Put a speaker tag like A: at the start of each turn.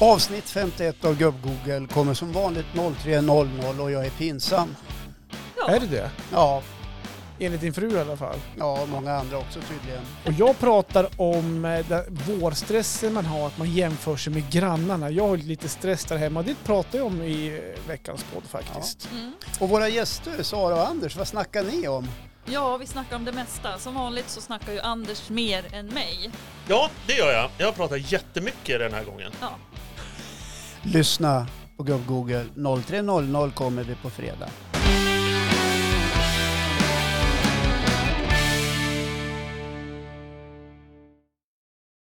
A: Avsnitt 51 av Gubb-Google kommer som vanligt 03.00 och jag är pinsam.
B: Är det det?
A: Ja,
B: Enligt din fru i alla fall.
A: ja många andra också tydligen.
B: Och jag pratar om eh, den vårstressen man har, att man jämför sig med grannarna. Jag har lite stress där hemma. Det pratade jag om i eh, veckans podd faktiskt.
C: Mm.
A: Och våra gäster, Sara och Anders, vad snackar ni om?
C: Ja, vi snackar om det mesta. Som vanligt så snackar ju Anders mer än mig.
D: Ja, det gör jag. Jag pratar jättemycket den här gången.
C: Ja,
A: Lyssna på Gubb-Google. 03.00 kommer vi på fredag.